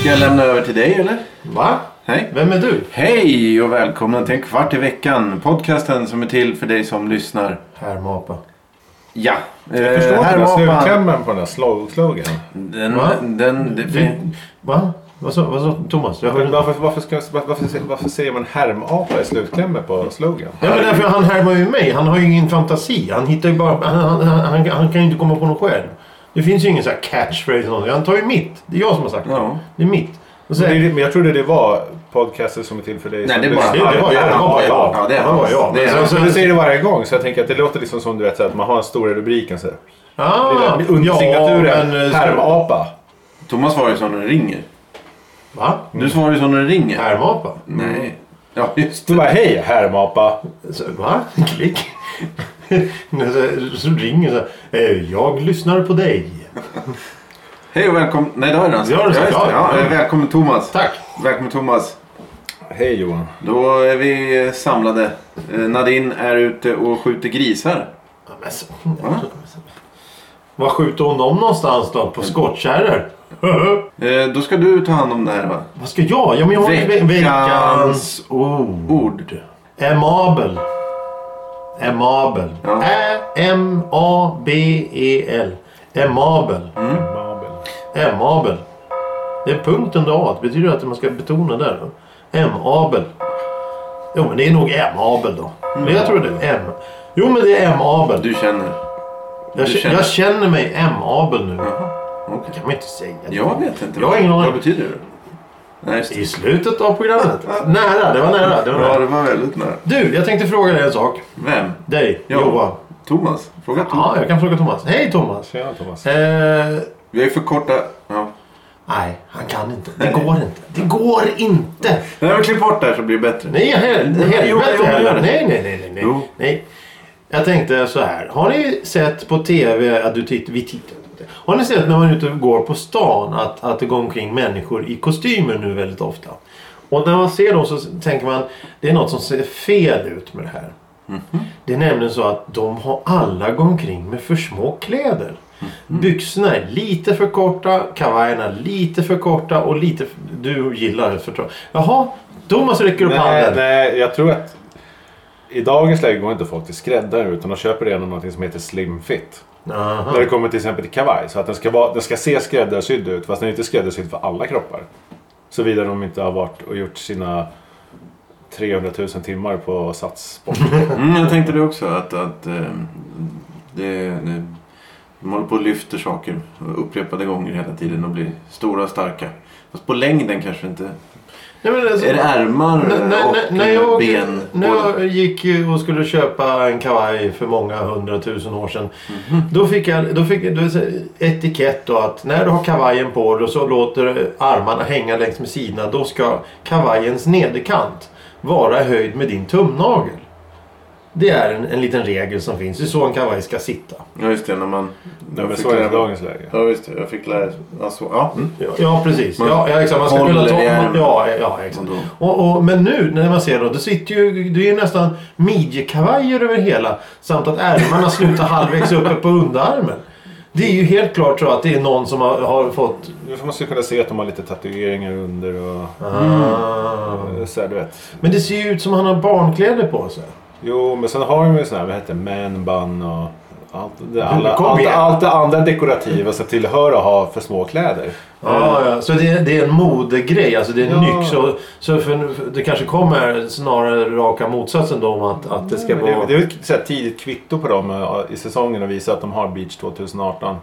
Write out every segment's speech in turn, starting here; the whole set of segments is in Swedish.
Ska jag lämna över till dig eller? Va? Hej. Vem är du? Hej och välkomna till en kvart i veckan. Podcasten som är till för dig som lyssnar. Härmapa. Ja. Jag Eh, förstår inte här den här var man. slutklämmen på den här slagslagen. Den, Va? den, den, Du, va? Vad sa, vad sa Thomas? Jag hörde inte. Varför, varför, ska, varför, varför säger man härmapa i slutklämmen på slogan? Ja, men därför han härmar ju mig. Han har ju ingen fantasi. Han hittar ju bara... Han, han, han, han, han kan ju inte komma på något själv. Det finns ju ingen så här catchphrase eller någonting. Han tar ju mitt. Det är jag som har sagt det. Ja. Det är mitt. Och så Det är här, det- Men jag trodde det var podcaster som är till för dig. Nej, som det är bara- lyssnar. det var jag. Ja, Det var bara jag. Ja, det är Det var jag. Det är- Men Så sen så- du säger det varje gång så jag tänker att det låter liksom som du vet så här att man har en stor rubrik. och så här, Ah, lilla- Under ja, signaturen men, eh, ska- härmapa. Thomas svarar ju så när den ringer. Va? Du svarar ju så när den ringer. Härmapa? Nej. Ja, just Du det. bara hej härmapa. Så, va? Klick. så, så ringer så här, eh, Jag lyssnar på dig. Hej och välkommen. Nej, det har jag redan Ja, det har du sagt. just det. Ja. eh, Välkommen Thomas. Tack. Välkommen Thomas. Hej Johan. Då är vi eh, samlade. Eh, Nadine är ute och skjuter grisar. Ja, men så, Alltså, Vad skjuter hon dem någonstans då? På skottkärror? Eh, Då ska du ta hand om det här va? Vad ska jag? Ja, men jag har ve- Veckans Oh. veckans ord. Ord. Amabel. Amabel. Ja. Ä-M-A-B-E-L. Amabel. Mabel. Amabel. Det är punkten då. A. Det betyder att man ska betona där. då. Amabel. Jo, men det är nog amabel då. Men jag tror det. är M. Jo, men det är amabel. Mm. Du känner. Jag, Du k- känner- jag känner mig M-abel nu. Okej. Det kan man inte säga. Jag vet inte. Jag har ingen aning. Vad betyder det? Nej, just det. I slutet av programmet. Nära, det var nära. Det var Ja, nära. det var väldigt nära. Du, jag tänkte fråga dig en sak. Vem? Dig, Ja. Johan. Thomas? Fråga Thomas. Ja, jag kan fråga Thomas. Hej Thomas! Tjena Thomas. Eh, Vi har ju förkortat... Ja. nej, han kan inte. Det går inte. Det går inte! Nej, men klipp bort det här så blir det bättre. Nej, helvete Jo, jo, jo, heller. jo. Nej, nej, nej, nej, nej. Jo. nej. Jag tänkte så här. Har ni sett på TV att du tittar... Vi tittar inte. Har ni sett när man är ute och går på stan att, att det går omkring människor i kostymer nu väldigt ofta? Och när man ser dem så tänker man det är något som ser fel ut med det här. Det är nämligen så att de har alla gått omkring med för små kläder. Byxorna är lite för korta, kavajerna lite för korta och lite... För, du gillar det förstår jag. Jaha, Thomas räcker upp Nej, handen. nej, jag tror att i dagens läge går inte folk till skräddare utan de köper redan något som heter slim fit. Aha. När det kommer till exempel till kavaj. Så att den ska, vara, den ska se skräddarsydd ut fast den är inte skräddarsydd för alla kroppar. Såvida de inte har varit och gjort sina 300 000 timmar på satssport. Mm, jag tänkte det också. Att, att eh, det, det, de håller på och lyfter saker upprepade gånger hela tiden och blir stora och starka. Fast på längden kanske inte. Nej, men alltså, Är det ärmar när- när- Mm. och när- när jag- ben? När Båda? jag gick eh, och skulle köpa en kavaj för många hundratusen år sedan. Mhm. Då fick jag då fick, då, etikett då att när du har kavajen på dig och så låter armarna hänga längs med sidorna. Då ska kavajens nederkant vara i höjd med din tumnagel. Det är en, en liten regel som finns. Det är så en kavaj ska sitta. Ja, just det. När man... Nej, jag men fick så är det i lära- dagens läge. Ja, just det. Jag fick lära mig. Alltså, ja. Mm. Ja, Ja, precis. Man ja, ja, exakt. Man ska håller kunna ta... i Man, ärmen. ja, ja, exakt. Och Och, och, men nu när man ser då, det sitter ju, det är ju nästan midjekavajer över hela. Samt att ärmarna slutar halvvägs uppe på underarmen. Det är ju helt klart så att det är någon som har, har fått... Nu får man ju kunna se att de har lite tatueringar under och Ah. eh, så här, du vet. Men det ser ju ut som han har barnkläder på sig. Jo, men sen har de ju sån här, vad heter det, man bun och allt det, Men alla, kom allt, igen. allt det andra dekorativa som tillhör att ha för små kläder. Ja, ja. Så det, är- det är en modegrej, alltså det är en Ja. nyx. Så, så för, för det kanske kommer snarare raka motsatsen då om att, att det ska Mm, Men det, vara... det är ju ett så här tidigt kvitto på dem eh, i säsongen att visa att de har Beach 2018.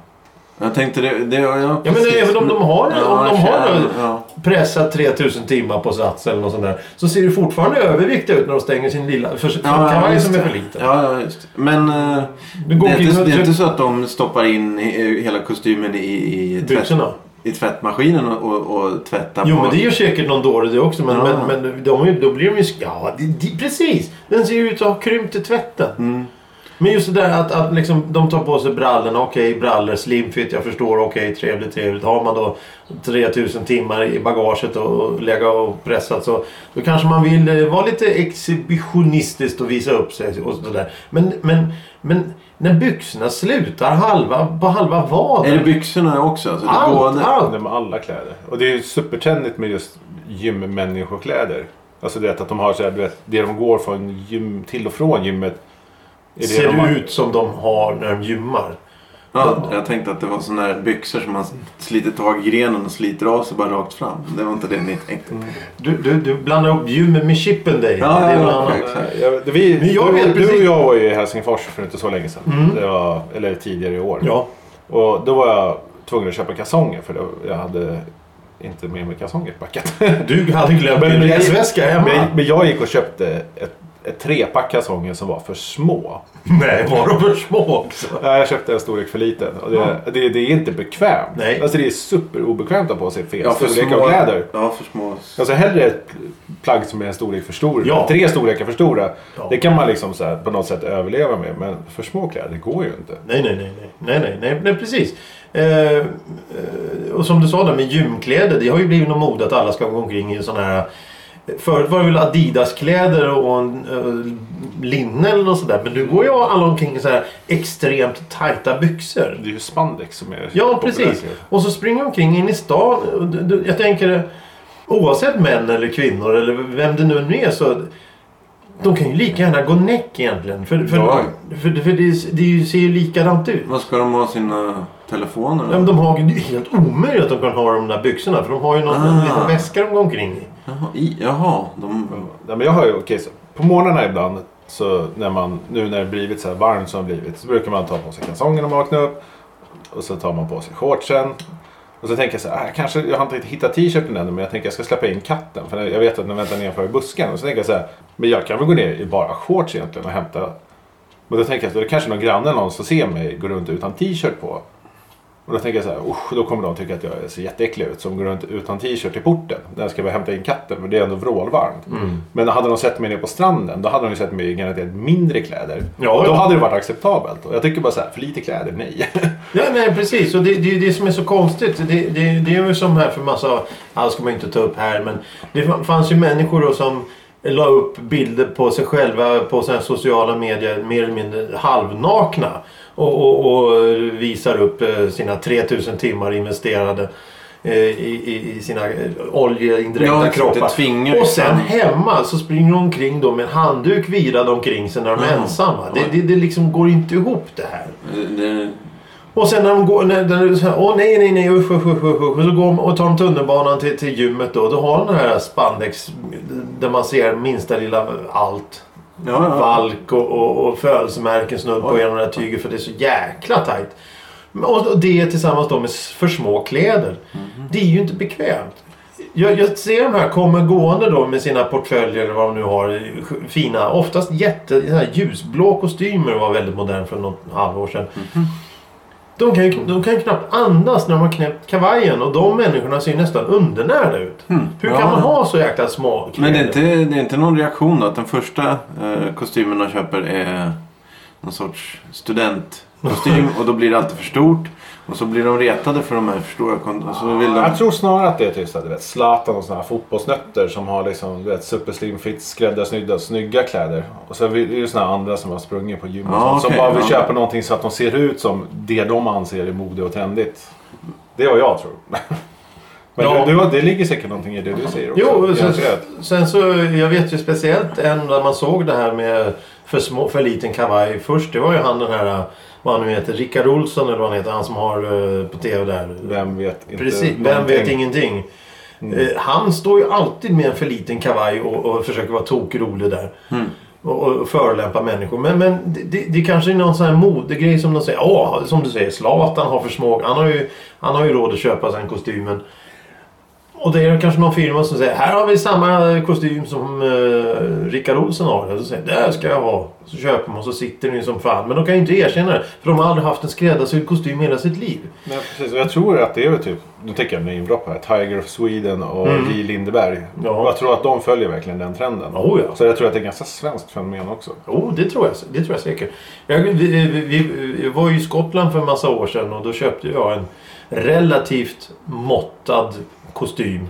Jag tänkte det... det ja, Ja, men även om de har, om de har ja. pressat 3000 timmar på sats eller något sånt där. Så ser det fortfarande överviktiga ut när de stänger sin lilla för, för Ja, kavaj just som är det. för liten. Ja, ja, just det. Men eh, Du går det, är omkring inte, och- det är inte så att de stoppar in i- hela kostymen i, i, tvätt, Byxorna. i tvättmaskinen och, och, och tvättar Jo på. men det gör säkert någon dåre det också. Men, Ja. men, Mm. men de, är ju- då blir de ju... sk- Ja, det- det- precis! Den ser ju ut att ha krympt i tvätten. Men just det där att, att liksom, de tar på sig brallorna. Okej, brallor, slimfit, jag förstår. Okej, trevligt, trevligt. Har man då 3000 timmar i bagaget och lägga och pressat så då kanske man vill eh, vara lite exhibitionistiskt och visa upp sig och sådär. Men, men, men när byxorna slutar halva, på halva Är det vaden. byxorna också? Alltså, det är Allt, både- Det är allt. med alla kläder. Och det är ju supertrendigt med just gymmänniskokläder. Alltså du vet att de har så här, du vet, det de går från gym, till och från gymmet. är det Ser de har- ut som de har när de gymmar. Ja, jag tänkte att det var såna här byxor som man sliter tag i grenen och sliter av sig bara rakt fram. Det var inte det ni tänkte. Du, du, du blandar upp gymmet med chippen dig. Ja, Mm. det är ja, något ja, annat. okej. Exakt. Nej, jag- Vi, Men jag du, vet du och precis- Mm. jag var ju i Helsingfors för inte så länge sedan. Det var, eller tidigare i år. Ja. Och då var jag tvungen att köpa kalsonger för då- jag hade inte med mig kalsonger i packet. Du hade glömt Men- din men- resväska hemma. men, men jag gick och köpte ett, ett trepack kalsonger som var för små. Nej, var de för små också? Ja, jag köpte en storlek för liten. Och det, det, det är inte bekvämt. Nej. Alltså det är superobekvämt att ha på sig fel Ja, för storlek små- av kläder. Ja, för små. Alltså hellre ett plagg som är en storlek för stor. Ja. Tre storlekar för stora. Ja. Det kan man liksom så här, på något sätt överleva med. Men för små kläder går ju inte. Nej, nej, nej. Nej, nej, nej, nej, nej precis. Eh, eh, och som du sa där med gymkläder. Det har ju blivit någon mode att alla ska gå omkring i sådana här... Förut var det väl Adidas-kläder och en, eh, linne eller något sådär. Men nu går ju alla omkring i så här extremt tajta byxor. Det är ju spandex som är Ja, populärt. precis. Och så springer de omkring in i stan. Och du- du- Jag tänker, oavsett män eller kvinnor eller vem det nu än är så de kan ju lika gärna gå näck egentligen. För, för, Ja. för, för det, det är ju- ser ju likadant ut. Vad ska de ha sina telefoner? Ja, men de har, det är ju helt omöjligt att de kan ha de där byxorna för de har ju någon Ah. liten väska de går omkring i. Jaha, i, jaha de... Ja, men jag har ju, okej, så på morgnarna ibland, så när man, nu när det blivit så här varmt som det blivit, så brukar man ta på sig kalsongerna och vakna upp. Och så tar man på sig shortsen. Och så tänker jag så här, "Ah, kanske, jag har inte riktigt hittat t-shirten ännu, men jag tänker jag ska släppa in katten. För jag vet att den väntar nedanför i busken. Och så tänker jag så här, men jag kan väl gå ner i bara shorts egentligen och hämta. Men då tänker jag, så det är kanske någon granne eller någon som ser mig gå runt utan t-shirt på. Och då tänker jag så här, usch, då kommer de tycka att jag ser jätteäcklig ut som går runt utan t-shirt i porten. När jag ska bara hämta in katten, för det är ändå vrålvarmt. Mm. Men hade de sett mig nere på stranden, då hade de ju sett mig i garanterat mindre kläder. Ja, och då ja. hade det varit acceptabelt. Och jag tycker bara så här, för lite kläder, nej. Ja, nej, precis. Och det, det är ju det som är så konstigt. Det, det, det är ju som här för massa... Allt ska man ju inte ta upp här, men det fanns ju människor då som la upp bilder på sig själva på sina sociala medier mer eller mindre halvnakna. Och, och, och visar upp eh, sina 3000 timmar investerade eh, i, i, i sina eh, oljeindränkta Ja, det kroppar. tvingar ju och sen fram. hemma så springer de omkring då med en handduk virad omkring sig när de är Mm. ensamma. Det, det, det liksom går inte ihop det här. Det, eh, det, Och sen när de går, när, när du säger åh nej nej nej usch usch usch usch usch. Och så går de och tar de tunnelbanan till, till gymmet då. Då har de den här spandex där man ser minsta lilla allt. ja, ja. Valk och, och, och födelsemärken snudd på Oj. genom det här tyget för det är så jäkla tajt. Men- Och, och det tillsammans då med s- för små kläder. Mhm. Det är ju inte bekvämt. Jag, jag ser de här komma gående då med sina portföljer eller vad de nu har. i sk- Fina, oftast jätte, såna här ljusblå kostymer var väldigt modern för något halvår sedan. Mhm. De kan, ju- de kan ju knappt andas när de har knäppt kavajen och de människorna ser ju nästan undernärda ut. Hur kan Ja. man ha så jäkla små kläder? Men det är, inte, det är inte någon reaktion då? Att den första eh, kostymen de köper är någon sorts studentkostym och då blir det alltid för stort. Och så blir de retade för de här för stora kon- och så vill alltså- de... Jag tror snarare att det är typ så här, du vet, Zlatan och sådana här fotbollsnötter som har liksom, du vet, superslim fit, skräddarsnydda, snygga kläder. Och sen är det ju sådana här andra som har sprungit på gym och Ja, sånt, som Ah, okej, bara vill ja. köpa någonting så att de ser ut som det de anser är mode och trendigt. Det är vad jag tror. Men Ja. du, du, det ligger säkert någonting i det du säger också. Jo, Jag sen, tror att- sen så, jag vet ju speciellt en där man såg det här med för, små, för liten kavaj först. Det var ju han den här, vad han nu heter, Rickard Olsson eller vad han heter, han som har eh, på tv där. Vem vet inte Precis, vem någonting. vet ingenting. Eh, Han står ju alltid med en för liten kavaj och, och försöker vara tokrolig där. Och, och förolämpa människor. Men, men det, det, det kanske är någon sån här modegrej som de säger. Åh, som du säger, Zlatan har för små... Han har ju, han har ju råd att köpa sig den kostymen. Och det är kanske någon firma som säger här har vi samma kostym som eh, Rickard Olsson har. Och så säger det ska jag ha. Så köper man och så sitter ni som fan. Men de kan ju inte erkänna det. För de har aldrig haft en skräddarsydd kostym hela sitt liv. Nej, precis. Och jag tror att det är väl typ, nu tänker jag med inbrott här, Tiger of Sweden och Mm. J. Lindeberg. Ja. Och jag tror att de följer verkligen den trenden. Oh, ja. Så jag tror att det är ett ganska svenskt fenomen också. Jo, det tror jag, det tror jag säkert. Jag, vi, vi, vi- vi var ju i Skottland för en massa år sedan och då köpte jag en relativt måttad kostym.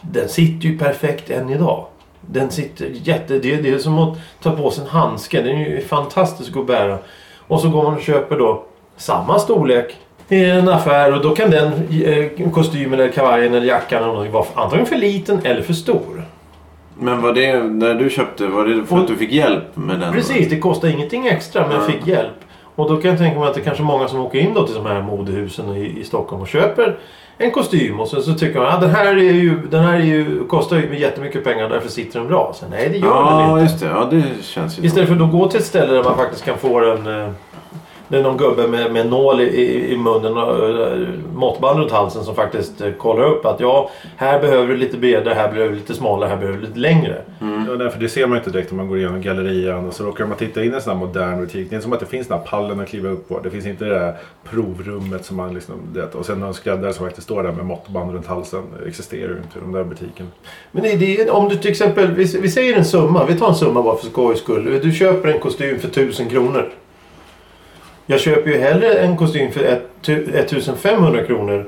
Den sitter ju perfekt än idag. Den sitter jätte... Det, det är som att ta på sig en handske. Den är ju fantastisk att bära. Och så går man och köper då samma storlek i en affär och då kan den eh, kostymen eller kavajen eller jackan eller någonting vara antingen för liten eller för stor. Men var det, när du köpte, var det för att du fick hjälp med den? Precis, det kostar ingenting extra men jag fick hjälp. Och då kan jag tänka mig att det kanske är många som åker in då till de här modehusen i, i Stockholm och köper en kostym och sen så tycker man att ah, den här, är ju, den här är ju, kostar ju jättemycket pengar därför sitter den bra. Så, nej, det gör den Ja, inte. just det. Ja, det känns ju Istället för att då gå till ett ställe där man faktiskt kan få den... eh, Det är någon gubbe med, med nål i, i, i munnen och eh, måttband runt halsen som faktiskt eh, kollar upp att ja, här behöver du lite bredare, här behöver du lite smalare, här behöver du lite längre. Ja, nej, för det ser man ju inte direkt om man går igenom gallerian och så råkar man titta in i en sån här modern butik. Det är som att det finns den här pallen att kliva upp på. Det finns inte det där provrummet som man liksom... Det, och sen någon skräddare som faktiskt står där med måttband runt halsen. Det existerar ju inte i den där butiken. Men det, det, är- om du till exempel, vi, vi säger en summa, vi tar en summa bara för skojs skull. Du köper en kostym för 1000 kronor. Jag köper ju hellre en kostym för ett tu- 1500 kronor.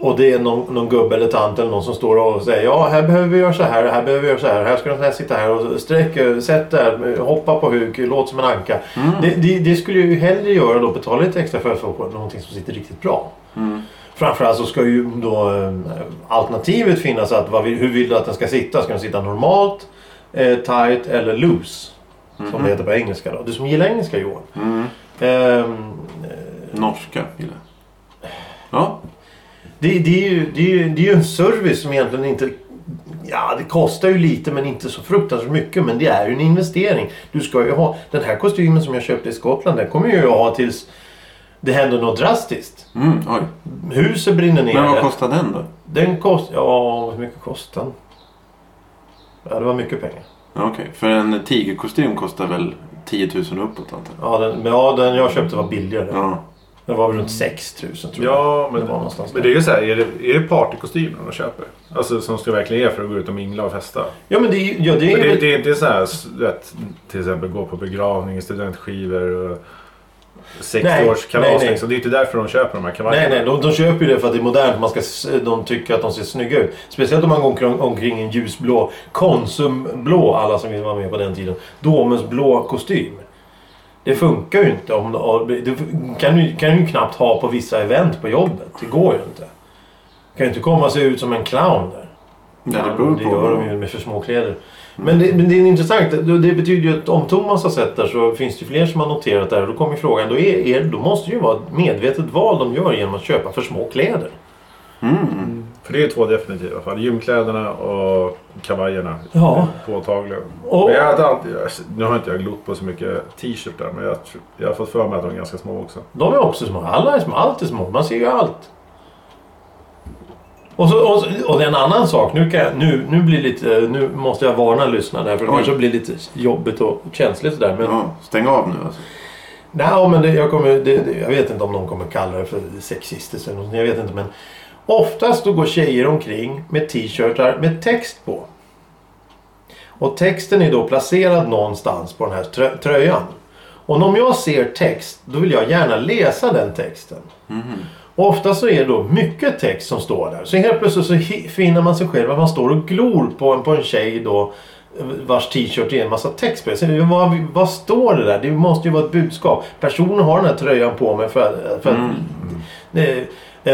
Och det är någon, någon gubbe eller tant eller någon som står och säger ja här behöver vi göra så här, här behöver vi göra så här, här ska den här sitta här och sträck, sätt där, hoppa på huk, låt som en anka. Mm, Det, det, det skulle jag ju hellre göra då, betala lite extra för att få någonting som sitter riktigt bra. Mm. Framförallt så ska ju då eh, alternativet finnas att vad vill, hur vill du att den ska sitta? Ska den sitta normalt, eh, tight eller loose? Som Mhm. det heter på engelska då. Du som gillar engelska Johan. Mm. Ehm, Norska gillar jag. Ja, det, det, är ju, det, är ju, det är ju en service som egentligen inte... Ja, det kostar ju lite men inte så fruktansvärt mycket. Men det är ju en investering. Du ska ju ha... Den här kostymen som jag köpte i Skottland den kommer ju jag ha tills det händer något drastiskt. mm, oj. Huset brinner ner. Men vad kostar den då? Den kost... Ja, hur mycket kostade den? Ja, det var mycket pengar. Ja, Okej, för en tigerkostym kostar väl 10 000 och uppåt antar jag. Ja, den, men ja, den jag köpte var billigare. Ja. Den var väl runt 6 000 tror jag. Ja, men Det var någonstans men det är ju så här, är det, är det partykostymen de köper? Alltså som ska verkligen ge för att gå ut och mingla och festa. Ja, men det, är ju- ja, det Det är är, ju... det, är inte så här, s- vet, till exempel gå på begravning, studentskivor och Nej, nej, 60-årskalas. nej. Liksom. Det är ju inte därför de köper de här kavajerna. Nej, nej, de, de köper ju det för att det är modernt. Man ska, s- de tycker att de ser snygga ut. Speciellt om man går omkring, omkring i en ljusblå, Konsumblå, alla som vill vara med på den tiden. Domusblå kostym. Det funkar ju inte. Om, det kan du kan du ju knappt ha på vissa event på jobbet. Det går ju inte. kan ju inte komma sig ut som en clown där. Ja, det Ja, beror det på. gör de ju med för små kläder. Men det, men det är intressant. Det, det betyder ju att om Thomas har sett där så finns det fler som har noterat det här. Då kommer ju frågan. Då, är, är, då måste det ju vara ett medvetet val de gör genom att köpa för små kläder. Mm. För det är ju två definitiva fall. Gymkläderna och kavajerna. Ja. Påtagligen. Och- Men jag har inte alltid, jag- nu har inte jag glott på så mycket t-shirtar men jag, tr- jag har fått för mig att de är ganska små också. De är också små. Alla är små. Allt är små. Man ser ju allt. Och, så, och, så, och det är en annan sak. Nu, kan jag, nu, nu, blir lite, nu måste jag varna lyssnarna där, för det Oj. kanske blir lite jobbigt och känsligt sådär. Men Ja, stäng av nu alltså. Nej, men det, jag, kommer, det, det, jag vet inte om någon kommer kalla det för sexistiskt eller något. Jag vet inte, men oftast då går tjejer omkring med t-shirtar med text på. Och texten är då placerad någonstans på den här trö- tröjan. Och om jag ser text, då vill jag gärna läsa den texten. Mm. Och ofta så är det då mycket text som står där. Så helt plötsligt så hi- finner man sig själv att man står och glor på en, på en tjej då eh, vars t-shirt är en massa text på. Så Vad, vad står det där? Det måste ju vara ett budskap. Personen har den här tröjan på mig för, att- för att... Mm. Eh,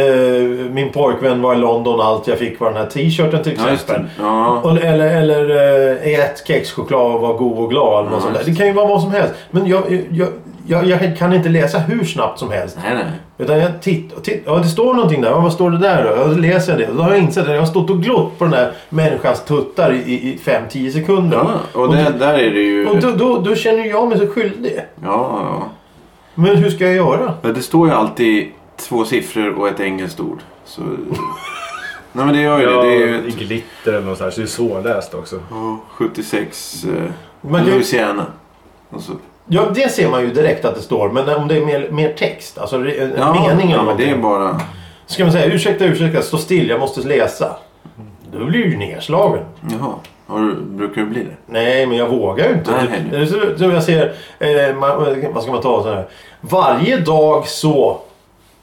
eh, min pojkvän var i London och allt jag fick var den här t-shirten till Ja, just exempel. det. Ja. Och- Eller, eller eh, ät kexchoklad och var god och glad. Eller något sånt där. Det kan ju vara vad som helst. Men jag, jag, jag, jag kan inte läsa hur snabbt som helst. Nej, nej. Utan jag tittar och tittar. Ja, det står någonting där. Ja, vad står det där då? Ja, då läser jag det. Då har jag insett det. Jag har stått och glott på den där människans tuttar i- i 5-10 sekunder. Ja, och det, där är det ju... och då, då, då känner jag mig så skyldig. Ja, ja. Men hur ska jag göra? Ja, Det står ju alltid två siffror och ett engelskt ord. Så... Nej men det gör ju det. det är ju I ett, glitter eller något sånt här, så det är svårläst också. Ja, 76 eh, Man kan ju, Louisiana. Och så, ja, det ser man ju direkt att det står. Men om det är mer, mer text, alltså re- en ja, mening eller ja, men det är någonting. bara... Ska man säga ursäkta, ursäkta, stå still, jag måste läsa. Då blir du ju nedslagen. Jaha, har du, brukar det bli det? Nej, men jag vågar ju inte. Nej. Det är så- Som jag ser, eh, man, vad ska man ta sån här? Varje dag så...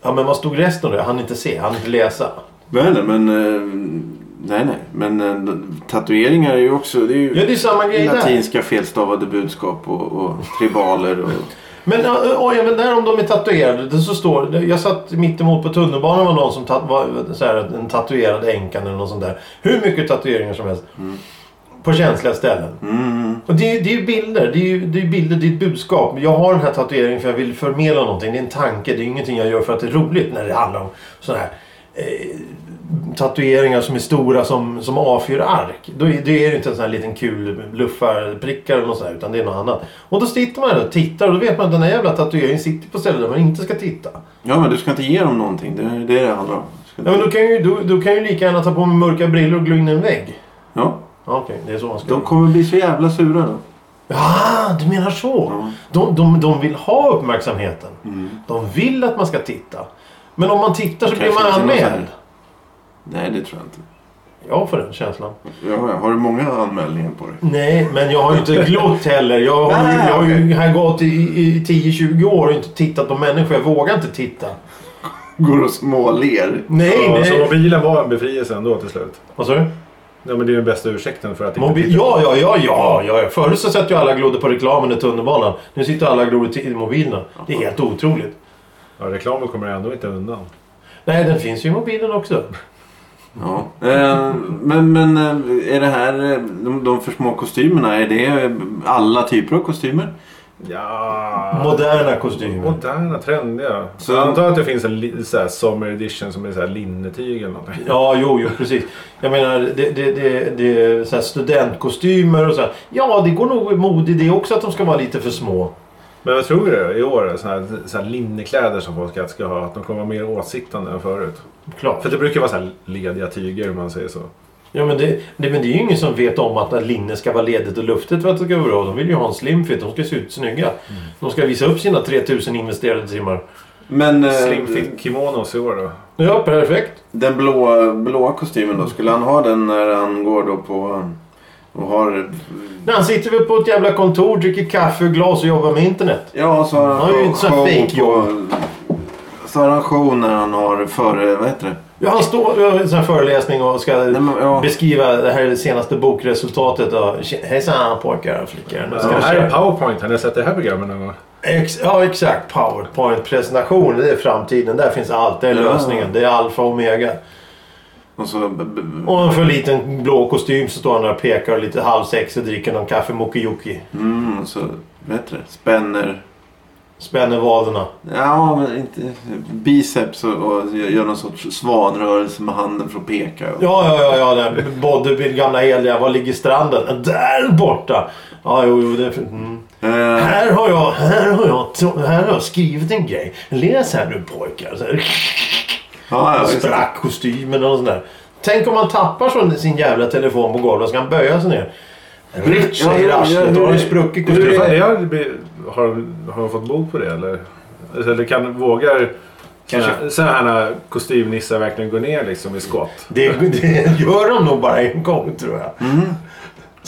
Ja, men vad stod resten av det? Han inte se, han inte läsa. Nej, men... Eh, nej, nej. Men eh, tatueringar är ju också... Det är ju Ja, det är samma grej där. latinska felstavade budskap och, och tribaler och... Men ja, eh, och även där om de är tatuerade. Det så står, det- jag satt mitt emot på tunnelbanan var någon som tat, var så här, en tatuerad änkan eller något sånt där. Hur mycket tatueringar som helst. På känsliga ställen. Mm. Och det, är- det är ju bilder. Det är ju det är ju bilder, det är ett budskap. Jag har den här tatueringen för jag vill förmedla någonting. Det är en tanke. Det är ingenting jag gör för att det är roligt när det handlar om sådana här eh, tatueringar som är stora som, som A4-ark. Då är det är inte en sån här liten kul luffarprickar eller något sånt här, utan det är något annat. Och då sitter man där och tittar och då vet man att den här jävla tatueringen sitter på ställen där man inte ska titta. Ja, men du ska inte ge dem någonting. Det är det är det det handlar om. Ska Ja, men då kan ju, då, då kan ju lika gärna ta på mig mörka brillor och glo in i en vägg. ja, Ja, Okej, det är så man ska de kommer bli så jävla sura då. Ah, du menar så. Ja. De, de, de vill ha uppmärksamheten. De vill att man ska titta. Men om man tittar så blir Kanske man inte någon anmäld. så Nej, det tror jag inte. Jag får den känslan. Ja, ja. Har du många anmälningar på dig? Nej, men jag har ju inte glott heller. Jag har ju, Nej, jag har ju okej. här gått i, i 10-20 år och inte tittat på människor. Jag vågar inte titta. Går och småler. Nej, Ja, Så nej. mobilen var en befrielse ändå till slut. Vad sa du? Ja, men det är ju den bästa ursäkten för att inte Mobil... titta. Ja, ja, ja, ja, ja. ja. Förut så satt ju alla och glodde på reklamen i tunnelbanan. Nu sitter alla och glor i mobilerna. Det är helt otroligt. Ja, reklamen kommer ändå inte undan. Nej, den finns ju i mobilen också. Ja. Eh, Men, men eh, är det här eh, de, de för små kostymerna? Är det eh, alla typer av kostymer? Ja... Moderna kostymer. Moderna, trendiga. Så Så- jag antar att det finns en li- så här, summer edition som är så här linnetyg eller någonting. Ja, jo, jo, precis. Jag menar, det, det, det, det är så här studentkostymer och så här. Ja, det går nog mod i det också att de ska vara lite för små. Men vad tror du i år? Så här, så här linnekläder som folk alltid ska ha. Att de kommer vara mer åtsiktande än förut. Klart. För det brukar vara så här lediga tyger om man säger så. Ja, men det, det, men det är ju ingen som vet om att linne ska vara ledigt och luftigt för att det ska vara bra. De vill ju ha en slim fit. De ska se ut snygga. Mm. De ska visa upp sina 3000 investerade timmar. Men eh, Slimfit kimonos i år då. Ja, perfekt. den blåa, blåa kostymen då? Skulle han ha den när han går då på... Och har... När han sitter väl på ett jävla kontor, dricker kaffe och glas och jobbar med internet. Ja, så har han, Han har ju inte så här fake-jobb. på- Så har han show när han har före... Vad heter det? Ja, han står och har en sån här föreläsning och ska Nej, men, ja. beskriva det här senaste bokresultatet. Och, Hejsan pojkar och flickor. Nu Alltså, ska det vi här köra." är powerpoint. Har ni sett det här programmet någon gång? Ex ja, exakt. Powerpoint-presentation. Det är framtiden. Där finns allt. Det är Ja. lösningen. Det är alfa och omega. Och så... b- b- Och en för liten blå kostym så står han där och pekar lite halv sex och dricker någon kaffe mokiyoki. Mm, och så... Vad heter det? Spänner... Spänner vaderna. Ja, men inte... Biceps och, och gör någon sorts svanrörelse med handen för att peka. Och, Ja, ja, ja. ja där. Bodybuild, gamla heliga. Var ligger stranden? Där borta! Ja, jo, jo. Det är... mm. Eh, Här har jag, här har jag, här har jag skrivit en grej. Läs här nu pojkar. Så här. ja, ja, Han visst. sprack kostymen och sånt där. Tänk om man tappar sån, sin jävla telefon på golvet ska han böja sig ner. Rich Ja, säger ja, ja, arslet. Då hur har är- han spruckit hur Fan, kostymen. det har, blivit- har, har de fått bok på det eller? Eller kan, vågar Kanske. sådana här kostymnissar verkligen gå ner liksom i skott? Det, det gör de nog bara en gång tror jag.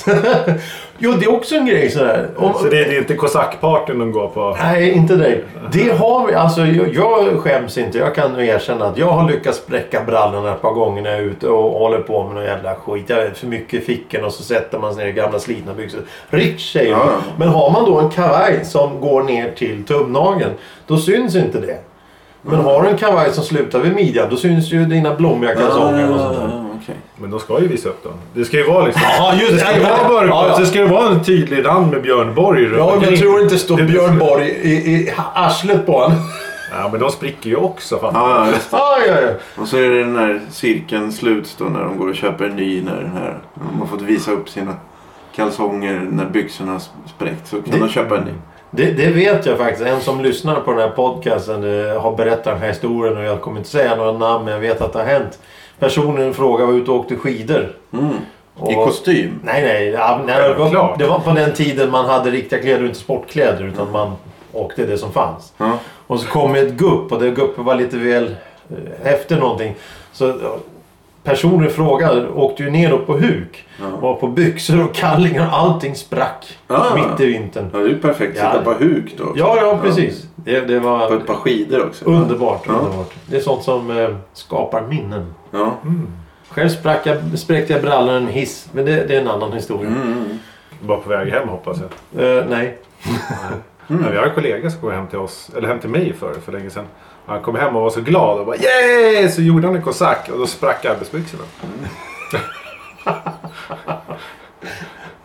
jo, det är också en grej sådär. Om, Så det, det är inte kosackpartyn de går på? Nej, inte dig. Det har vi. Alltså, jag, jag skäms inte. Jag kan nu erkänna att jag har lyckats spräcka brallorna ett par gånger när jag är ute och håller på med någon jävla skit. Jag är för mycket i fickan och så sätter man sig ner i gamla slitna byxor. Rich säger Ja, man. ja. Men har man då en kavaj som går ner till tumnageln, då syns inte det. Men har du en kavaj som slutar vid midjan, då syns ju dina blommiga kalsonger och sånt där. Ah, okej. Men de ska ju visa upp dem. Det ska ju vara liksom... Ja, just det ska ju det. vara mörkt. Ja, ja. Det ska ju vara en tydlig rand med Björn Borg runt Ja, men jag omkring. tror inte står Det- Björn Borg i, i arslet på honom. Ja, men de spricker ju också. Fan. Ja, ja, visst. Aj, aj, aj. Och så är det den här cirkeln slut då när de går och köper en ny när den här... när De har fått visa upp sina kalsonger när byxorna har spräckt så kan Det- de köpa en ny. Det, det vet jag faktiskt. En som lyssnar på den här podcasten eh, har berättat den här historien och jag kommer inte säga några namn men jag vet att det har hänt. Men personen i fråga var ute och åkte skidor. Mm. I Och- kostym. Nej, nej. ja, nej det, var, Självklart. det var på den tiden man hade riktiga kläder och inte sportkläder. Utan man åkte det som fanns. Ja. Och så kom ett gupp och det guppet var lite väl eh, efter någonting. Så ja, personen i fråga åkte ju ner då på huk. Ja. Var på byxor och kallingar. Allting sprack. Ah. Mitt i vintern. Ja, det är ju perfekt. Sitta Ja. på huk då. Ja, ja precis. Det, det På var ett par skidor också. underbart. Ja. underbart. Det är sånt som eh, skapar minnen. Ja. Själv sprack jag, spräckte jag brallorna i en hiss. Men det, det är en annan historia. Mm, Mm. Bara på väg hem hoppas jag. Eh, nej. Mm. Men vi har en kollega som kom hem till oss, eller hem till mig för, för länge sedan. Han kom hem och var så glad och bara Yay! Så gjorde han en kosack och då sprack arbetsbyxorna.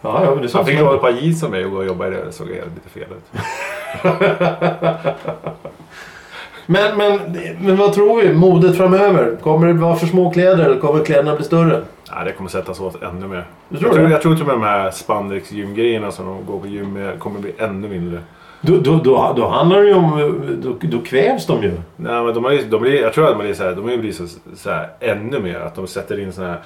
Ja, ja, men det är Så han sånt fick som- låna ett par jeans av mig och gå och jobba i det. Det såg helt lite fel ut. Men, men, men vad tror vi? Modet framöver? Kommer det vara för små kläder eller kommer kläderna bli större? Nej, det kommer sättas åt ännu mer. Du Jag tror tror, det? jag tror till och med de här spandex gymgrejerna som de går på gym med kommer bli ännu mindre. Då, då, då, då handlar det ju om... Då, då kvävs de ju. Nej, men de har ju, de blir, jag tror att de blir, så här, de har ju blivit så, så här, ännu mer att de sätter in såna här eh,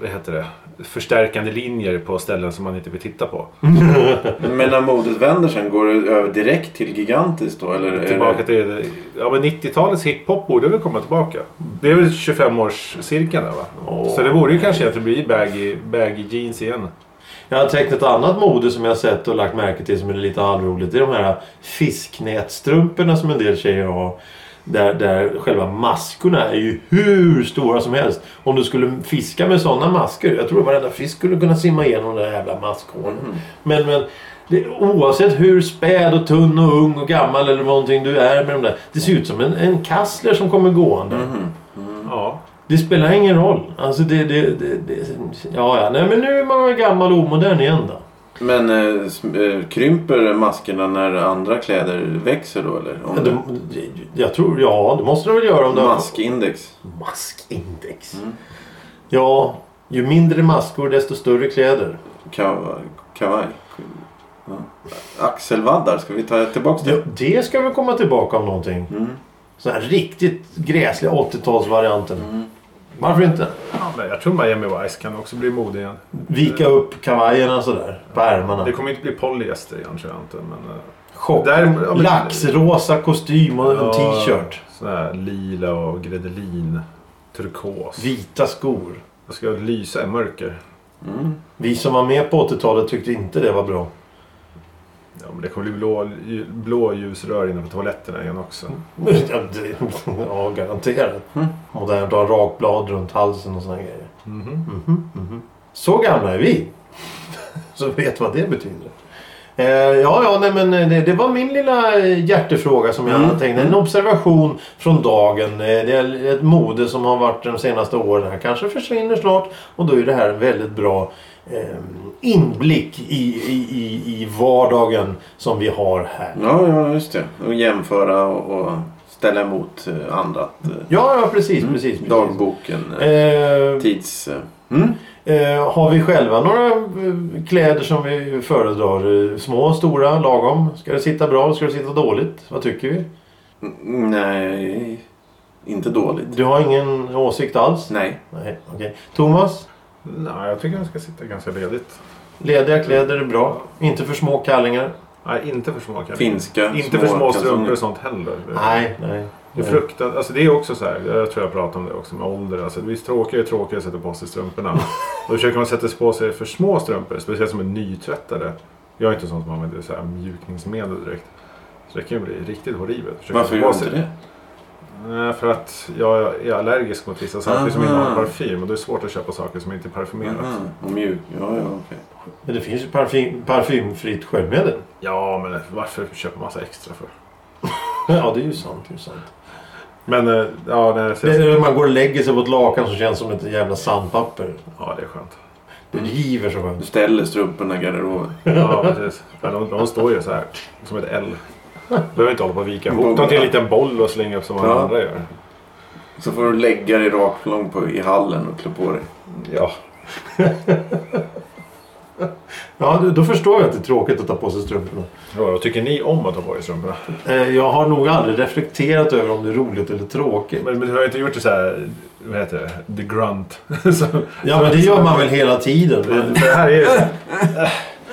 vad heter det? Förstärkande linjer på ställen som man inte vill titta på. Men när modet vänder sen, går det över direkt till gigantiskt då? Eller är det- Tillbaka till ja, men 90-talets hiphop borde väl komma tillbaka. Det är väl 25-årscirkeln där va? Så det borde ju kanske att det blir baggy, baggy jeans Mm. igen. Jag har tänkt ett annat mode som jag sett och lagt märke till som är lite allroligt. Det är de här fisknätstrumporna som en del tjejer har. Där, där själva maskorna är ju hur stora som helst. Om du skulle fiska med sådana masker. Jag tror varenda fisk skulle kunna simma igenom det där jävla maskhålet. Mhm. Men, men det, oavsett hur späd och tunn och ung och gammal eller någonting du är med de där. Det ser ut som en, en kassler som kommer gående. Mhm. Ja. Det spelar ingen roll. Alltså det... det, det, det ja, ja. Nej, men nu är man gammal och omodern igen då. Men eh, sm- eh, krymper maskerna när andra kläder växer då eller? Om Ja, det... de, jag tror, ja det måste de väl göra om de Maskindex. Maskindex. Ja, ju mindre maskor desto större kläder. Kav... Kavaj. Ja. Axelvaddar, ska vi ta tillbaka Ja, det? det ska vi komma tillbaka om någonting. Mm. Sådana här riktigt gräsliga 80-talsvarianten. Varför inte? Ja, men jag tror Miami Vice kan också bli mode igen. Vika upp kavajerna sådär på ärmarna. Det kommer inte bli polyester igen tror jag inte. Men, eh, Chock. Däremot- ja, men- Laxrosa kostym och en Ja, t-shirt. Sån här lila och gredelin. Turkos. Vita skor. Jag ska lysa i mörker. Mm. Vi som var med på 80-talet tyckte inte det var bra. Ja, men det kommer bli blå, blå ljusrör inne på toaletterna igen också. Ja, det- ja, garanterat. Mm. Modernt att ha rakblad runt halsen och såna grejer. Mhm. Så gamla är vi. Så vet vad det betyder. Eh, ja, ja, nej, men eh, det, det var min lilla eh, hjärtefråga som jag Mm. tänkte. En observation från dagen. Eh, det är ett mode som har varit de senaste åren. här kanske försvinner snart. Och då är det här en väldigt bra eh, inblick i, i, i, i vardagen som vi har här. Ja, ja, just det. Och jämföra och, och ställa emot eh, annat. eh, Ja, ja, precis, precis. Mm. precis. Dagboken. eh, Eh, Tids... eh, Mm? Eh, har vi själva några eh, kläder som vi föredrar? Eh, Små, stora, lagom? Ska det sitta bra? Ska det sitta dåligt? Vad tycker vi? Mm, Nej, inte dåligt. Du har ingen åsikt alls? Nej. Nej, okej. Thomas? Nej, jag tycker den ska sitta ganska ledigt. Lediga kläder är bra. Inte för små kallingar? Nej, inte för små kalsonger. Finska. Inte för små strumpor kalsonger. och sånt heller. Nej, nej. Det är fruktan, alltså det är också så här, jag tror jag pratade om det också med ålder. Alltså det blir tråkigare och tråkigare att sätta på sig strumporna. Och då försöker man sätta på sig för små strumpor, speciellt som är nytvättade. Jag är inte sån som använder så här mjukningsmedel direkt. Så det kan ju bli riktigt horribelt. Försöker Varför sätta gör på du sig- inte det? Nej, för att jag är allergisk mot vissa saker som Aha. innehåller parfym. Och det är svårt att köpa saker som inte är parfymerat. Aha, Mm, och mjuk. Ja, ja, okej. Men det finns ju parfym, parfymfritt sköljmedel. Ja, men varför köpa massa extra för? Ja, det är ju sant. Det är ju sant. Men eh, ja, nej, så, Det är när man går och lägger sig på ett lakan som känns som ett jävla sandpapper. ja, det är skönt. Det giver så skönt. Du ställer strumporna i garderoben. Ja, precis. Ja, de, de står ju så här, som ett L. Behöver inte hålla på och vika ihop dem till en liten boll och slänga upp som alla Ja. andra gör. Så får du lägga dig rakt lång på, i hallen och klä på dig. Ja. Ja, då- då förstår jag att det är tråkigt att ta på sig strumporna. Ja, vad tycker ni om att ha på er strumporna? Eh, Jag har nog aldrig reflekterat över om det är roligt eller tråkigt. Men, men du har ju inte gjort det så här, vad heter det, the grunt. så, Ja, men det gör man väl hela tiden. Men, för det här är ju,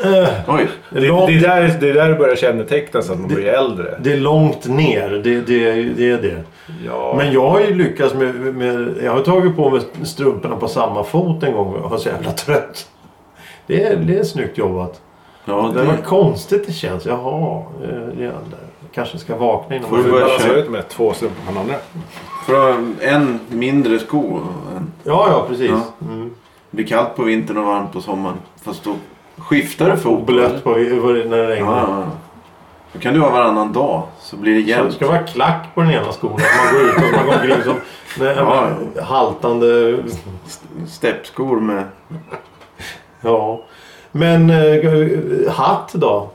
Eh, Oj. det, det, är där, det är där det börjar kännetecknas att man blir äldre. Det är långt ner, det, det, det är det. Ja, Men jag har ju lyckats med, med... Jag har tagit på mig strumporna på samma fot en gång och var så jävla trött. Det är, det är snyggt jobbat. Ja, Det var där konstigt det känns. Jaha, eh, det är där. Jag kanske ska vakna innan Får man... du du börjar balanserar köra. ut med två strumpor på den andra. får ha en mindre sko. och en- Ja, ja, precis. Ja. Mm. Det blir kallt på vintern och varmt på sommaren. Fast då skiftar du Och fot. blött på, när det Ja, regnar. ja. Då kan du ha varannan dag. Så blir det Så det jämnt. ska vara klack på den ena skon. Att man går ut och man går omkring som nej, Ja, haltande... Steppskor med... Ja. Men eh, hatt då?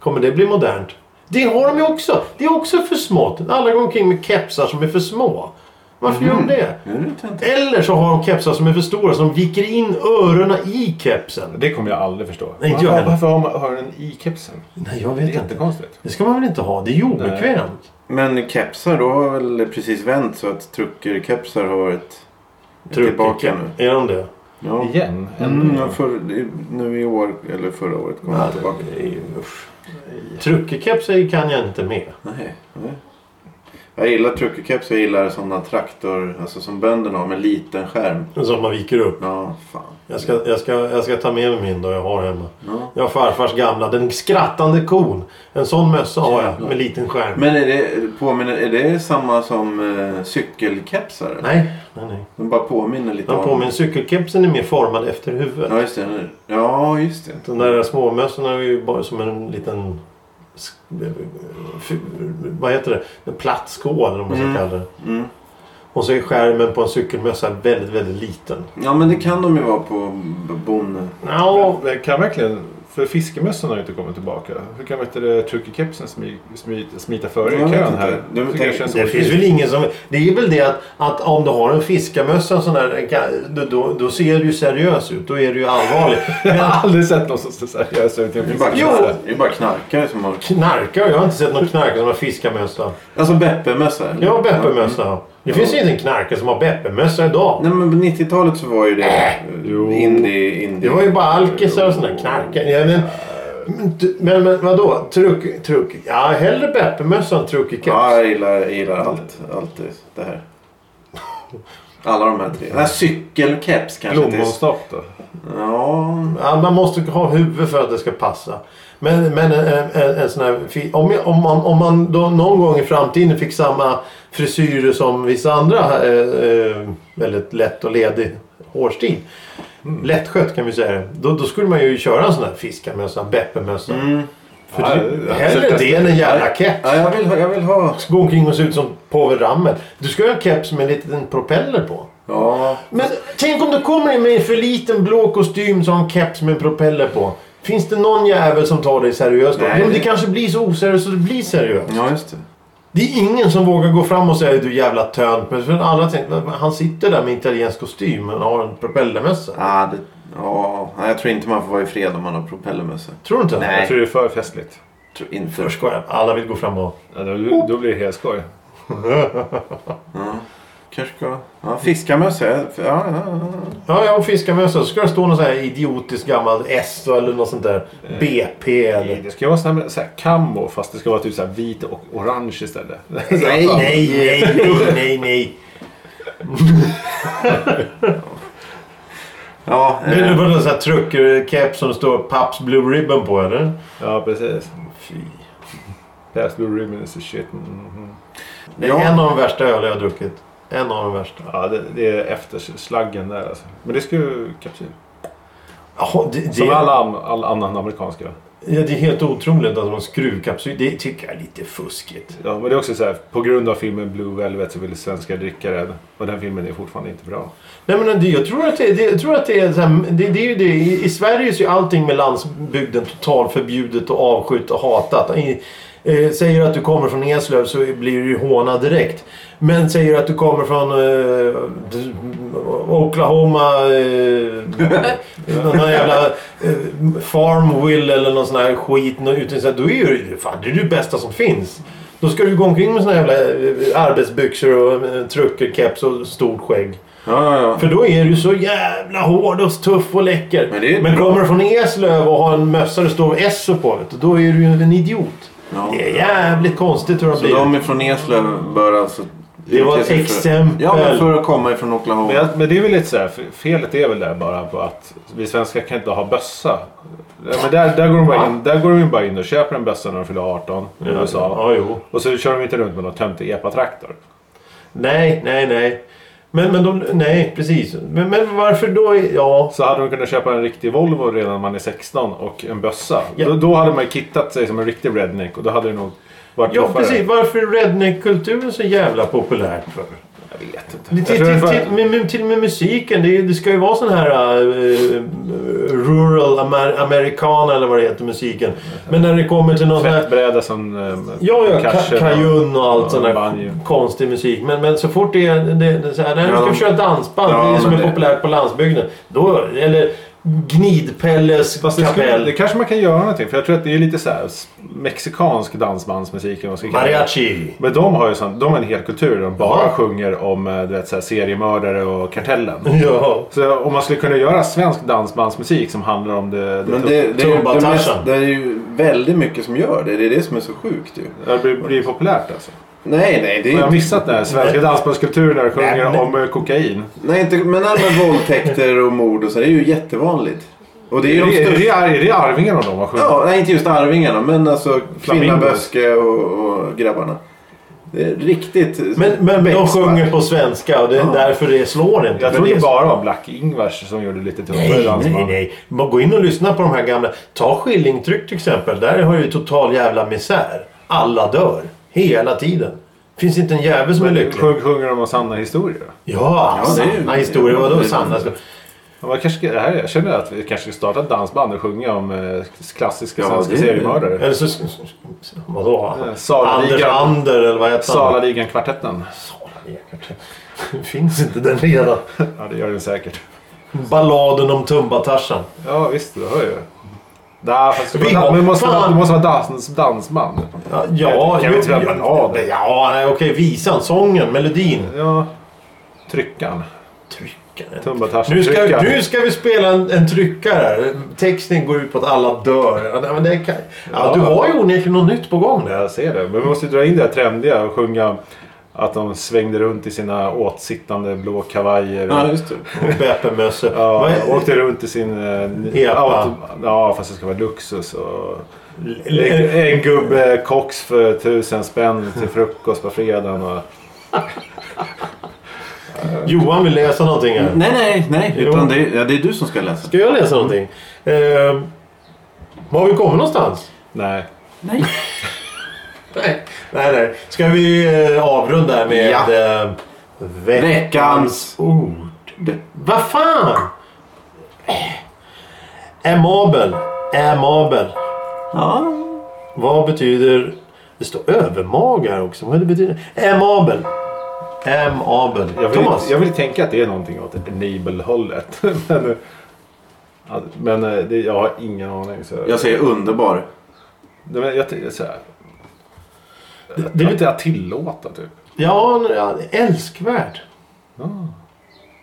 Kommer det bli modernt? Det har de ju också. Det är också för smått. Alla går omkring med kepsar som är för små. Varför Mhm. gör de det? Nu vet jag inte. Eller så har de kepsar som är för stora som viker in öronen i kepsen. Det kommer jag aldrig förstå. Nej, inte jag varför, heller. varför har man har den i kepsen? Nej, jag Det vet är inte. jättekonstigt. Det ska man väl inte ha? Det är ju obekvämt. Men kepsar, då har väl precis vänt så att truckerkepsar har varit tillbaka nu. Är de det? Ja. Igen? Mm, ja, för, nu i år, eller förra året, kom de tillbaka. Nej, usch. Truckerkepsar kan jag inte med. Nej. nej. Jag gillar truckerkeps. Jag gillar sådana traktor, alltså som bönderna har med liten skärm. Som man viker upp. Ja, fan. Jag ska, jag, ska, jag ska ta med mig min då jag har hemma. Ja. Jag har farfars gamla, den skrattande kon. En sån mössa har jag med liten skärm. Men är det, påminner, är det samma som eh, cykelkepsar? Nej, nej, nej. De bara påminner lite Den om... påminner, cykelkepsen är mer formad efter huvudet. Ja, just det. Ja, just det. De där småmössorna är ju bara som en liten... sk- f- Vad heter det? En platt skål eller vad man ska Mm. kalla det. Mm. Och så är skärmen på en cykelmössa väldigt, väldigt liten. Ja, men det kan de ju vara på b- bonde... Ja, Men kan verkligen... För fiskemössan har ju inte kommit tillbaka. Hur kan vet du, turkikepsen smi, smi, smita före i Jag vet kön inte. här? De Så tänker- kanske en sån- Det finns väl ingen som... Det är väl det att, att om du har en fiskarmössa sån där, en ka- då, då, då ser du ju seriös ut. Då är du ju allvarlig. Jag Men har aldrig sett någon som ser seriös ut i en Det är bara, fiskemössa. knarkare. det är bara knarkare som har... knarkar? Jag har inte sett någon knarkare som har fiskarmössa. Alltså Beppe-mössa. eller? Jag har Beppe-mössa. Det finns ju inte en knarkare som har Beppe-mössa idag. Nej, men på 90-talet så var ju det eh, Jo. indie... indie. Det var ju bara alkisar och såna där knarkare. Ja, men, men- men, men vadå? Truck, truck. Ja, hellre Beppe-mössa än truckikeps. Ja, jag gillar, jag gillar allt, allt det- det här. Alla de här tre. Den här cykelkeps kanske inte är... Plommonstopp då? Ja, Ja, man måste ha huvud för att det ska passa. Men, men en, en, en sån här, fi- om, jag- om man, om man då någon gång i framtiden fick samma frisyrer som vissa andra. Eh, eh, väldigt lätt och ledig hårstil. Mm. Lättskött kan vi säga det. Då, då skulle man ju köra en sån här fiskarmössa, en Beppe-mössa. För Mm. det, Ja, det- hellre absolut. det än en jävla keps. ja jag, vill ha, jag vill ha... Gå omkring och se ut som Povel Ramel. Du ska ha en keps med en liten propeller på. Ja, Men tänk om du kommer in med en för liten blå kostym som har en keps med en propeller på. Finns det någon jävel som tar dig seriöst då? Nej, Jo, det det- kanske blir så oseriöst så det blir seriöst. ja just det. Det är ingen som vågar gå fram och säga du jävla tönt. Men för alla tänker "Men han sitter där med italiensk kostym och har en propellermössa. Ja, det... Ja, nej, jag tror inte man får vara i fred om man har propellermössa. Tror du inte? Nej. Jag tror det är för festligt. Jag tror inte. Jag skojar. Alla vill gå fram och... Ja, då, då blir det helt skoj. Ja. Kanske ska... Ja, fiskarmössa. Ja, ja, ja. Ja, jag har fiskarmössa. Så ska det stå någon sån här idiotisk gammal S eller något sånt där. Eh. BP Nej, eller... Det ska ju vara sån här, så här kammo fast det ska vara typ så här vit och orange istället. Nej, Nej, nej, nej, nej, nej. ja Det är eh, bara en sån här truckerkeps som det står Paps Blue Ribbon på eller? Ja, precis. Fy. Past blue ribbon is a shit. Mhm. Det är Ja. en av de värsta öl jag har druckit. En av de värsta. Ja, det, det är efterslaggen där alltså. Men det ska ju kapsyl. Ja, det, det, Som alla, am- all annan amerikanska. ja, det är helt otroligt att de har skruvkapsyl. Det tycker jag är lite fuskigt. Ja, men det är också så här, på grund av filmen Blue Velvet så ville svenskar dricka den. Och den filmen är fortfarande inte bra. Nej men det, jag tror att det, det, jag tror att det är så här, det, det är ju det. I, I Sverige så är ju allting med landsbygden totalt förbjudet och avskytt och hatat. I, eh, säger du att du kommer från Eslöv så blir du ju hånad direkt. Men säger du att du kommer från eh, Oklahoma... Eh, någon jävla eh, Farmville eller någon sån här skit. nå- Utan så här, då är ju fan, det är det bästa som finns. Då ska du gå omkring med såna jävla eh, arbetsbyxor och eh, truckerkeps och stort skägg. Ja, ja, För då är du så jävla hård och tuff och läcker. Men det är Men bra. kommer du från Eslöv och har en mössa det står Esso på vet du, då är du ju en idiot. ja. Det är ja. jävligt konstigt hur de Så blir. de är från Eslöv bör alltså... Det var ett utge sig för- exempel. Ja, men för att komma ifrån Men, Oklahoma. jag, men det är väl lite sådär, f- felet är väl där bara på att vi svenskar kan inte ha bössa. Ja, Men där, där, går de bara in, där går de ju bara in och köper en bössa när de fyller 18 i USA. Ja, jo. Och så kör de inte runt med någon töntig epatraktor. Nej, nej, nej. Men, men de, nej, precis. Men, men varför då? i- Ja. Så hade de kunnat köpa en riktig Volvo redan när man är 16 och en bössa. Ja. Då, då hade man ju kittat sig som en riktig redneck och då hade det nog varit Ja, tuffare. precis. Varför är redneck-kulturen så jävla populär för? Jag vet inte. Till, Jag till, tror det var- till, med- med- till och med musiken. Det, är- det ska ju vara sån här eh, rural amer, americana eller vad det heter, musiken. Men när det kommer till någon sån här... Tvättbräda som... ehm, Ja, ja. kanske- ka- Kajun och allt sån Ja, där banjo. konstig musik. Men, men så fort det är... Det, det, är så här, när Ja, du de- ska köra dansband, Ja, det är som men är det- populärt på landsbygden. Då, eller Gnidpelles Fast det, skulle, kapell. det kanske man kan göra någonting. För jag tror att det är lite så här s- mexikansk dansbandsmusik. eller vad man ska kalla det. Mariachi. Men de har ju sån, de har en hel kultur. De bara Ja. sjunger om eh, du vet, så här, seriemördare och kartellen. Ja. Så om man skulle kunna göra svensk dansbandsmusik som handlar om det... det Men det, det, är ju- det, Tumba-Tarzan. mest- det är ju väldigt mycket som gör det. Det är det som är så sjukt ju. det blir, blir populärt alltså. Nej, nej. Det är Jag har inte, missat den här svenska dansbandskulturen när de Nej, sjunger men- om eh, kokain. nej, inte, men alla våldtäkter och mord och så. Det är ju jättevanligt. Och det är Är ju de det, är, största... det, är det Arvingarna de har sjungit? Ja, nej, inte just Arvingarna. Men alltså Kvinna, Flamingos. Böske och, och grabbarna. Det är riktigt... Men, men de Bäcksvart. sjunger på svenska och det är Ja. därför det slår inte. Jag För tror det det är- bara var Black-Ingvars som gjorde lite tuffare Nej, nej, dansband. nej. Bara Gå in och lyssna på de här gamla. Ta Skillingtryck till exempel. Där har ju total jävla misär. Alla dör. Hela tiden. Finns inte en jävel som är Men lycklig. sjung, sjunger de om sanna historier? Ja, Ja, det är ju- sanna historier. Vadå det är- sanna? Ja, man kanske, det här, jag känner att vi kanske ska starta ett dansband och sjunga om eh, klassiska Ja, svenska det- seriemördare. Eller så... Vadå? Eh, Anders Salaligan- Ander eller vad heter han? Salaligan-kvartetten. Salaligan. Finns inte den redan? Ja, det gör den säkert. Balladen om Tumba-Tarzan. Ja, visst. Det hör ju. Nej, fast Vi vi har- men det måste, fan! vara, det måste vara dans, dansband. Ja, Jag ja, kan inte jo, spela ballad. ja nej, okej. Visan, sången, melodin. Ja. Tryckan. Tryckaren. Tumbatarsen. Nu ska, Tryckan. nu ska vi spela en, en tryckare. Texten går ut på att alla dör. Ja, nej, men det kan, ja, du har ju onekligen något nytt på gång där. Jag ser det. Men vi måste ju dra in det här trendiga och sjunga att de svängde runt i sina åtsittande blå kavajer. Ja, just det. Och Beppe-mössor. Vad Ja, är- åkte runt i sin... eh, ny- Epa. auto- Ja, fast det ska vara Luxus och... L- En, l- en gubbe koks för tusen spänn till frukost på fredagen. Och... Johan vill läsa någonting här. Nej, nej, nej. Jo. Utan det, är- ja, det är du som ska läsa. Ska jag läsa någonting? Eh, var har vi kommit någonstans? Nej. Nej. Nej, nej. nej. Ska vi eh, avrunda här med Ja. eh, Veckans ord? Vad fan! Eh, Amabel. Amabel. Ja. Vad betyder... Det står övermaga här också. Vad det betyder Amabel. Amabel. Jag vill, Thomas. jag vill tänka att det är någonting åt enable-hållet. men eh, ja, men eh, det, jag har ingen aning. Så... Jag säger underbar. Nej, men jag, jag, så här, Det- det det är bet- lite att tillåta typ. ja, n- ja, älskvärd.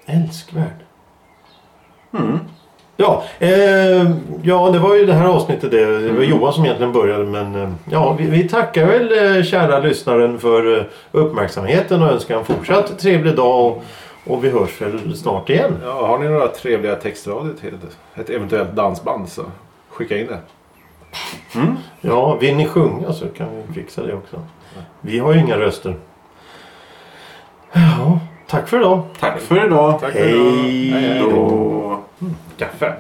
Älskvärd. Ja, eh, ja, det var ju det här avsnittet. Det, det var Johan som egentligen började. Men eh, ja, vi, vi tackar väl eh, kära lyssnaren för eh, uppmärksamheten och önskar en fortsatt trevlig dag. Och, och vi hörs väl snart igen. Ja, har ni några trevliga textrader till ett eventuellt dansband så skicka in det. Ja, vill ni sjunga så kan vi fixa det också. Vi har ju inga röster. Ja, tack för idag. Tack för idag. Tack Hej Hej då. då. Då... Kaffe.